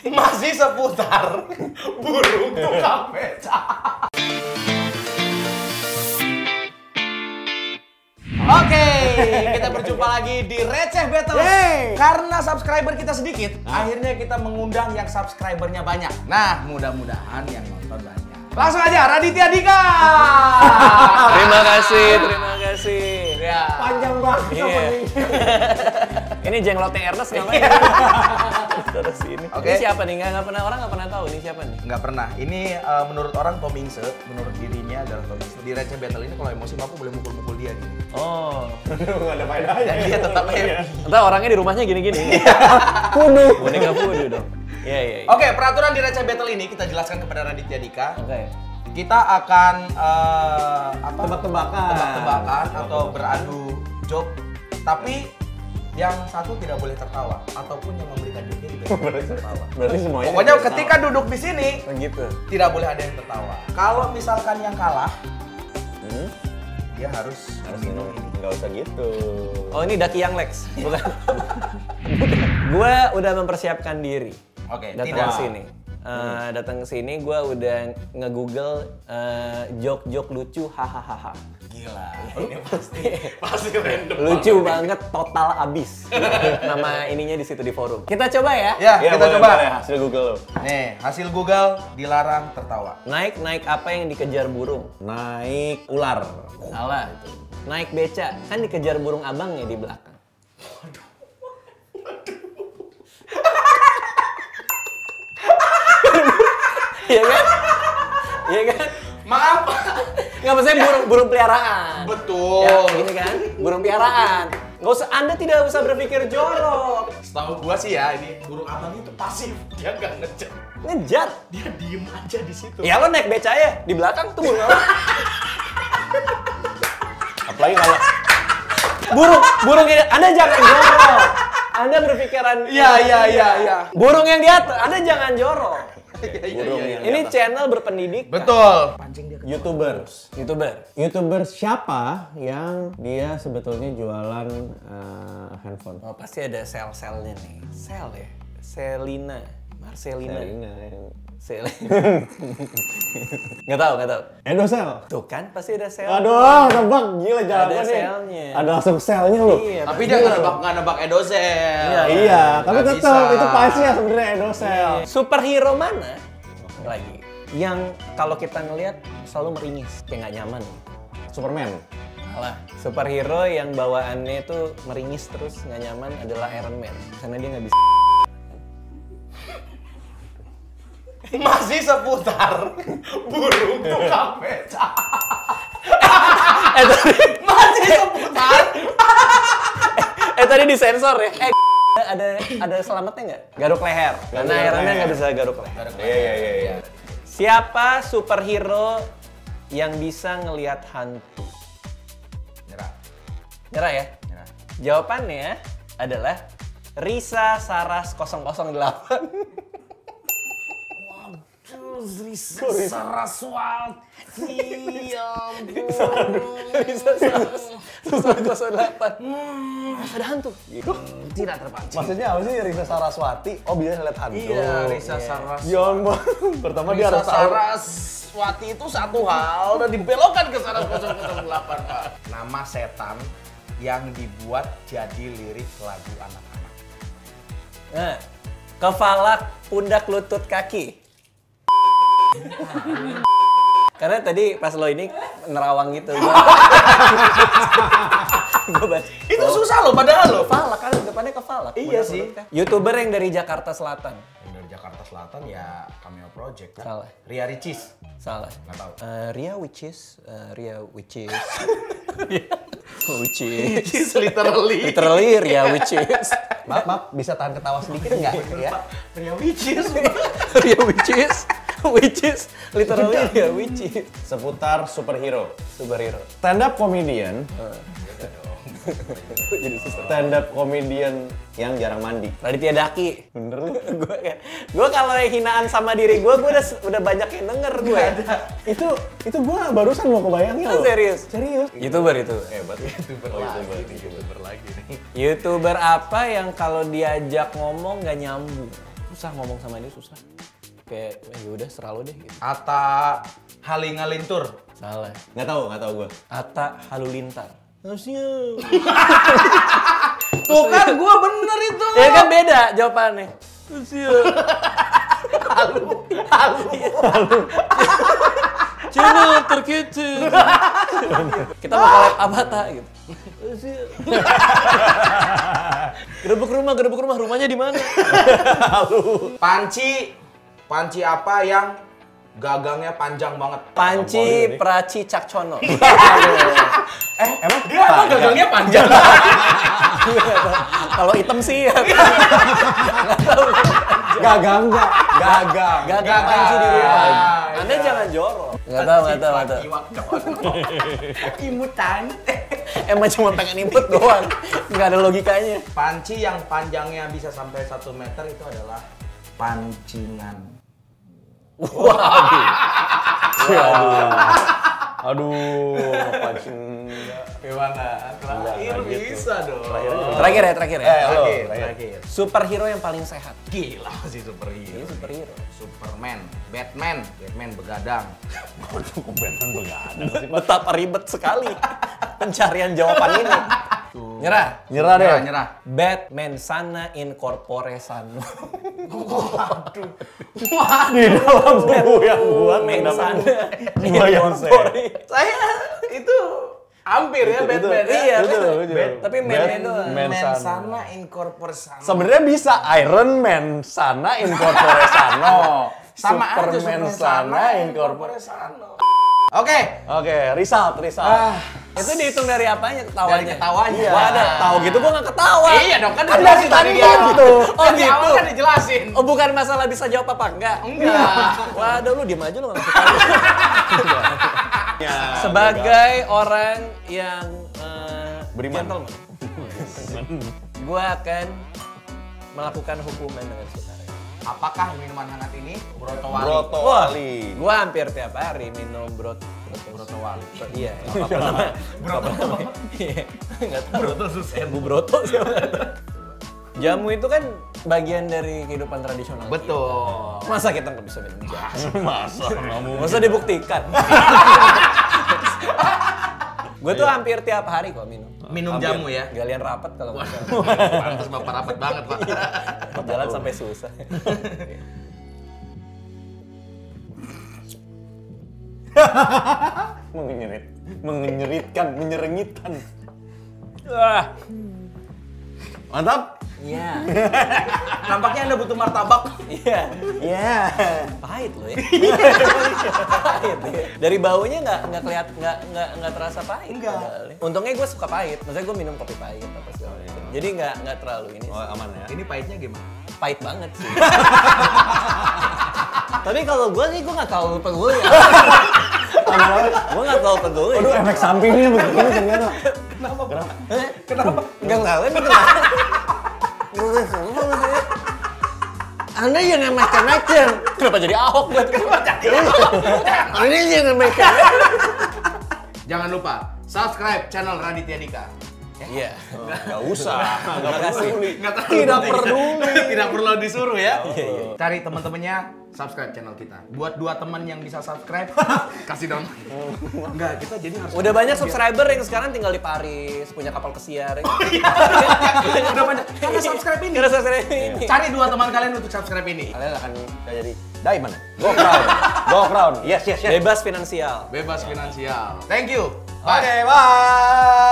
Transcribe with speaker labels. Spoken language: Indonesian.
Speaker 1: Masih seputar burung tukang beca. Oke, kita berjumpa lagi di Receh Battle.
Speaker 2: Yeay.
Speaker 1: Karena subscriber kita sedikit, akhirnya kita mengundang yang subscribernya banyak. Nah, mudah-mudahan yang nonton banyak. Langsung aja, Raditya Dika.
Speaker 3: Terima kasih, terima kasih.
Speaker 1: Ya.
Speaker 2: Panjang banget
Speaker 3: Iya.
Speaker 2: openingnya.
Speaker 3: Ini jenglotnya Ernest namanya. Terus ini.
Speaker 1: Oke.
Speaker 3: Ini siapa nih? Nggak, nggak pernah orang nggak pernah tahu ini siapa nih.
Speaker 1: Nggak pernah. Ini eh, menurut orang Tom Hingse, menurut dirinya adalah Tom Hingse. Di Receh Battle ini kalau emosi mampu boleh mukul-mukul dia gitu.
Speaker 3: Oh.
Speaker 2: Nggak ada faedahnya. Iya.
Speaker 1: Dan dia Iya, tetap happy.
Speaker 3: Entah orangnya di rumahnya gini-gini.
Speaker 2: Kudu.
Speaker 3: Boneka Fudu dong. Iya, iya. iya.
Speaker 1: Oke, peraturan di Receh Battle ini kita jelaskan kepada Raditya Dika.
Speaker 3: Oke.
Speaker 1: Kita akan eh, apa?
Speaker 2: Tebak-tebakan.
Speaker 1: Tebak-tebakan atau beradu joke. Tapi yang satu tidak boleh tertawa ataupun yang memberikan joke tidak boleh tertawa.
Speaker 3: Berarti semuanya. Oh,
Speaker 1: Pokoknya ketika duduk di sini
Speaker 3: begitu.
Speaker 1: tidak boleh ada yang tertawa. Kalau misalkan yang kalah,
Speaker 3: Hmm?
Speaker 1: dia harus minum ini.
Speaker 3: Enggak usah gitu. Oh, ini Daki yang Lex, bukan. gue udah mempersiapkan diri.
Speaker 1: Oke,
Speaker 3: datang
Speaker 1: tidak.
Speaker 3: ke sini. Eh, datang ke sini gue udah nge-google eh, jok-jok lucu hahaha.
Speaker 1: Gila, ini pasti pasti random.
Speaker 3: Lucu banget total abis. Nama ininya di situ di forum. Kita coba ya.
Speaker 1: Ya,
Speaker 2: Nah,
Speaker 1: kita coba.
Speaker 3: hasil Google lo.
Speaker 1: Nih, hasil Google dilarang tertawa.
Speaker 3: Naik naik apa yang dikejar burung?
Speaker 2: Naik ular.
Speaker 3: Salah. Naik beca kan dikejar burung abangnya di belakang. Iya kan? Iya kan?
Speaker 1: Maaf.
Speaker 3: Nggak maksudnya burung burung peliharaan.
Speaker 1: Ya. Betul.
Speaker 3: Ya, gini kan? Burung peliharaan. Nggak usah, Anda tidak usah berpikir jorok.
Speaker 1: Setahu gua sih ya ini burung abang itu pasif, dia nggak ngejar,
Speaker 3: Ngejat.
Speaker 1: dia diem aja di situ.
Speaker 3: Ya lo naik beca ya, di belakang tuh burung apa?
Speaker 2: Apalagi kalau
Speaker 3: Burung, burung ini, Anda jangan jorok. Anda berpikiran.
Speaker 1: Iya iya iya iya.
Speaker 3: Burung yang di atas, Anda jangan jorok.
Speaker 2: burung ya. yang
Speaker 3: Ini channel
Speaker 1: iya.
Speaker 3: berpendidikan.
Speaker 1: Betul.
Speaker 2: YouTubers.
Speaker 3: Youtuber.
Speaker 2: YouTubers siapa yang dia sebetulnya jualan eh, handphone?
Speaker 3: Oh, pasti ada sel-selnya nih. Sel ya? Selina. Marcelina.
Speaker 2: Karina yang-
Speaker 3: Selina. gak tau, gak tau.
Speaker 2: Edosel.
Speaker 3: Tuh kan pasti ada sel.
Speaker 2: Aduh, tebak gila jawabannya.
Speaker 3: Ada selnya.
Speaker 2: Ada langsung selnya lu.
Speaker 3: Iya,
Speaker 1: Tapi dia nggak nebak nggak nebak Edosel.
Speaker 3: Iya,
Speaker 2: Iya, tapi
Speaker 1: Nggak
Speaker 2: tetap
Speaker 1: bisa.
Speaker 2: itu pasti ya sebenarnya Edosel.
Speaker 3: Superhero mana lagi yang kalau kita ngelihat selalu meringis, kayak nggak nyaman.
Speaker 2: Superman.
Speaker 3: Alah, superhero yang bawaannya itu meringis terus nggak nyaman adalah Iron Man karena dia nggak bisa.
Speaker 1: Masih seputar burung tukang beca.
Speaker 3: eh, tadi,
Speaker 1: Masih seputar.
Speaker 3: eh tadi disensor ya. Eh ada ada selamatnya nggak? Garuk leher. Karena
Speaker 2: Garuk
Speaker 3: Iron Man
Speaker 2: leher.
Speaker 3: nggak bisa garuk leher.
Speaker 2: Iya, iya, iya, iya.
Speaker 3: Siapa superhero yang bisa ngelihat hantu?
Speaker 1: Nyerah,
Speaker 3: Nyerah ya?
Speaker 1: nyerah.
Speaker 3: Jawabannya adalah Risa Saras 008.
Speaker 1: Saraswati, Ya ampun.
Speaker 3: Risa Saras 008. ada hantu.
Speaker 1: Tidak terpancing.
Speaker 2: Maksudnya apa sih Risa Saraswati? Oh, bisa lihat hantu.
Speaker 1: Iya, Risa Saraswati.
Speaker 2: Yon, Ya pertama dia
Speaker 1: Risa
Speaker 2: harus tahu.
Speaker 1: Saraswati itu satu hal dan dibelokkan ke Saras 008 Pak. Nama setan yang dibuat jadi lirik lagu anak-anak.
Speaker 3: Nah, kepala, pundak, lutut, kaki. Karena tadi pas lo ini nerawang gitu. Gua, gua baca.
Speaker 1: Itu susah loh padahal loh.
Speaker 3: Kepala kan depannya kepala.
Speaker 1: Iya
Speaker 3: pundak,
Speaker 1: sih.
Speaker 3: lutut, kaki. Youtuber yang dari Jakarta Selatan.
Speaker 1: Dari Jakarta Selatan ya Cameo Project kan.
Speaker 3: Salah.
Speaker 1: Ria Ricis.
Speaker 3: Salah.
Speaker 1: Nggak tahu.
Speaker 3: Eh, Ria Witches, eh, Ria Witches. Witches.
Speaker 1: Ricis literally.
Speaker 3: Literally Ria Witches.
Speaker 2: Maaf, maaf, bisa tahan ketawa sedikit nggak? ya?
Speaker 1: Iya, Ria Ricis.
Speaker 3: Ria Witches. Witches. Literally Ria Witches.
Speaker 2: Seputar superhero.
Speaker 3: Superhero.
Speaker 2: Stand up comedian,
Speaker 3: Jadi susah.
Speaker 2: stand up comedian yang jarang mandi.
Speaker 3: Raditya Daki. Bener lu. gue kayak, gue kalau yang hinaan sama diri gue, gue udah udah banyak yang denger gue.
Speaker 2: Itu itu gua barusan mau kebayangnya
Speaker 3: Lu
Speaker 2: loh.
Speaker 3: serius?
Speaker 2: Serius.
Speaker 3: Youtuber itu. Oh,
Speaker 2: Hebat.
Speaker 1: Youtuber lagi, youtuber lagi nih.
Speaker 3: Youtuber apa yang kalau diajak ngomong gak nyambung?
Speaker 1: Terus
Speaker 3: susah ngomong sama dia susah. Kayak ya udah seralo deh gitu.
Speaker 1: Ata Halingalintur.
Speaker 3: Salah.
Speaker 2: Nggak tahu, nggak tahu gue.
Speaker 3: Atta Halulintar.
Speaker 2: Harusnya.
Speaker 1: Tuh kan gua bener itu.
Speaker 3: Ya kan beda jawabannya. Lucio. Halu. Halu. Halu. Cina terkecil. Kita bakal live Abata gitu. Gerbek rumah, gerbek rumah. Rumahnya di mana?
Speaker 1: Panci. Panci apa yang gagangnya panjang banget?
Speaker 3: Panci Praci Cakcono.
Speaker 1: Eh, emang dia apa gagangnya panjang?
Speaker 3: Iya. Kalau hitam sih ya.
Speaker 2: Gagang nggak? Gagang.
Speaker 3: Gak ada
Speaker 1: Gagal.
Speaker 3: panci di rumah.
Speaker 1: Iya.
Speaker 3: Anda jangan jorok. Gak tau, gak tau, gak tau.
Speaker 1: Iwak doang. Imutan.
Speaker 3: Emang cuma pengen input doang. Gak ada logikanya.
Speaker 1: Panci yang panjangnya bisa sampai 1 meter itu adalah pancingan.
Speaker 2: Aduh, pancing.
Speaker 1: Gimana? Terakhir bisa dong.
Speaker 3: Terakhir ya, terakhir ya.
Speaker 1: Eh, Terakhir,
Speaker 2: Halo,
Speaker 1: terakhir.
Speaker 3: Superhero yang paling sehat.
Speaker 1: Gila sih Iya, superhero.
Speaker 3: Ini superhero.
Speaker 1: Superman, Batman, Batman begadang.
Speaker 2: Kebetulan begadang.
Speaker 3: Betapa ribet sekali pencarian jawaban ini. Nyerah.
Speaker 2: Nyerah deh.
Speaker 1: Nyerah, nyerah.
Speaker 3: Batman sana in corpore sano.
Speaker 1: Waduh.
Speaker 2: Di dalam buku yang buat
Speaker 3: Batman sana Iya, in
Speaker 2: Gua yang
Speaker 3: corpore.
Speaker 1: Saya itu hampir ya Batman. ya.
Speaker 3: Iya,
Speaker 2: Betul,
Speaker 3: betul.
Speaker 2: betul.
Speaker 3: Tapi
Speaker 2: Bat-
Speaker 3: man-nya doang.
Speaker 1: Man,
Speaker 2: Man
Speaker 1: sana.
Speaker 2: sana.
Speaker 1: incorpore sana.
Speaker 2: Sebenarnya bisa Iron Man sana incorpore sano.
Speaker 1: sama aja
Speaker 2: Superman sana incorpore.
Speaker 1: incorpore sana. Oke,
Speaker 2: Oke, result, result.
Speaker 3: Itu dihitung dari apanya ketawanya?
Speaker 1: Dari ketawanya.
Speaker 3: Wah, ada tahu gitu gua nggak ketawa.
Speaker 1: Iya dong, kan
Speaker 3: kan dari
Speaker 1: dijelasin
Speaker 3: tadi
Speaker 1: tadi
Speaker 3: gua
Speaker 1: dia.
Speaker 3: gitu. Oh
Speaker 1: Dari
Speaker 3: gitu.
Speaker 1: awal kan dijelasin.
Speaker 3: Oh bukan masalah bisa jawab apa enggak?
Speaker 1: Enggak.
Speaker 3: Waduh lu diem aja lu nggak masuk akal.
Speaker 2: Ya.
Speaker 3: Sebagai orang yang eh,
Speaker 2: Beriman.
Speaker 3: gentleman, gue akan melakukan hukuman dengan sukarela.
Speaker 1: Apakah minuman hangat ini Broto Wali?
Speaker 2: Broto
Speaker 3: Wah,
Speaker 2: Wali.
Speaker 3: gue hampir tiap hari minum brot.
Speaker 1: Broto Wali.
Speaker 3: Iya, apa namanya?
Speaker 1: Broto.
Speaker 3: Iya, nggak tahu.
Speaker 1: Broto Susen.
Speaker 3: Bu Broto siapa? Jamu itu kan bagian dari kehidupan tradisional. kita.
Speaker 1: Betul.
Speaker 3: Masa kita nggak bisa minum jamu?
Speaker 2: Masa kamu?
Speaker 3: Masa dibuktikan? gue tuh hampir tiap hari kok minum.
Speaker 1: Minum
Speaker 3: Hampir.
Speaker 1: jamu ya?
Speaker 3: Galian rapat kalau nggak salah.
Speaker 1: Pantes bapak rapat banget, Pak.
Speaker 3: Jalan sampai susah.
Speaker 2: Mengenyerit. Mengenyeritkan, menyerengitan.
Speaker 3: Wah.
Speaker 2: Mantap.
Speaker 3: Iya.
Speaker 1: Nampaknya Anda butuh martabak.
Speaker 3: Iya.
Speaker 2: Iya.
Speaker 3: Pahit loh ya. pahit. Ya. Dari baunya nggak nggak kelihat nggak nggak nggak terasa pahit.
Speaker 1: Nggak.
Speaker 3: padahal. Untungnya gue suka pahit. Maksudnya gue minum kopi pahit apa segala macam. Jadi nggak nggak terlalu ini. sih.
Speaker 2: Oh, aman ya.
Speaker 1: Ini pahitnya gimana?
Speaker 3: pahit banget sih. Tapi kalau gue sih gue nggak terlalu peduli. ya. gue nggak terlalu peduli.
Speaker 2: Aduh, efek sampingnya begini ternyata.
Speaker 1: Kenapa, Bro? Kenapa?
Speaker 3: Eh, Nggak gitu tahu ini kenapa. Anda jangan macam-macam. Kenapa jadi ahok buat Ini jangan macam.
Speaker 1: Jangan lupa subscribe channel Raditya Dika.
Speaker 3: Iya.
Speaker 2: Gak usah.
Speaker 3: Terima kasih.
Speaker 1: Nggak tahu
Speaker 2: Tidak
Speaker 1: Raditya.
Speaker 2: perlu.
Speaker 1: Tidak perlu disuruh ya. Cari teman-temannya subscribe channel kita. Buat dua teman yang bisa subscribe, kasih dong. Enggak, kita jadi harus
Speaker 3: Udah banyak subscriber yang sekarang tinggal di Paris, punya kapal pesiar.
Speaker 2: Oh,
Speaker 3: ya.
Speaker 2: iya.
Speaker 1: Udah banyak. Karena subscribe ini. Iya.
Speaker 3: Karena subscribe
Speaker 2: Iya.
Speaker 3: ini.
Speaker 1: Cari dua teman kalian untuk subscribe ini.
Speaker 2: Kalian akan jadi diamond. Go crown. Go crown. Yes, yes, yes.
Speaker 3: Bebas finansial.
Speaker 1: Bebas finansial. Thank you.
Speaker 2: Oke, bye.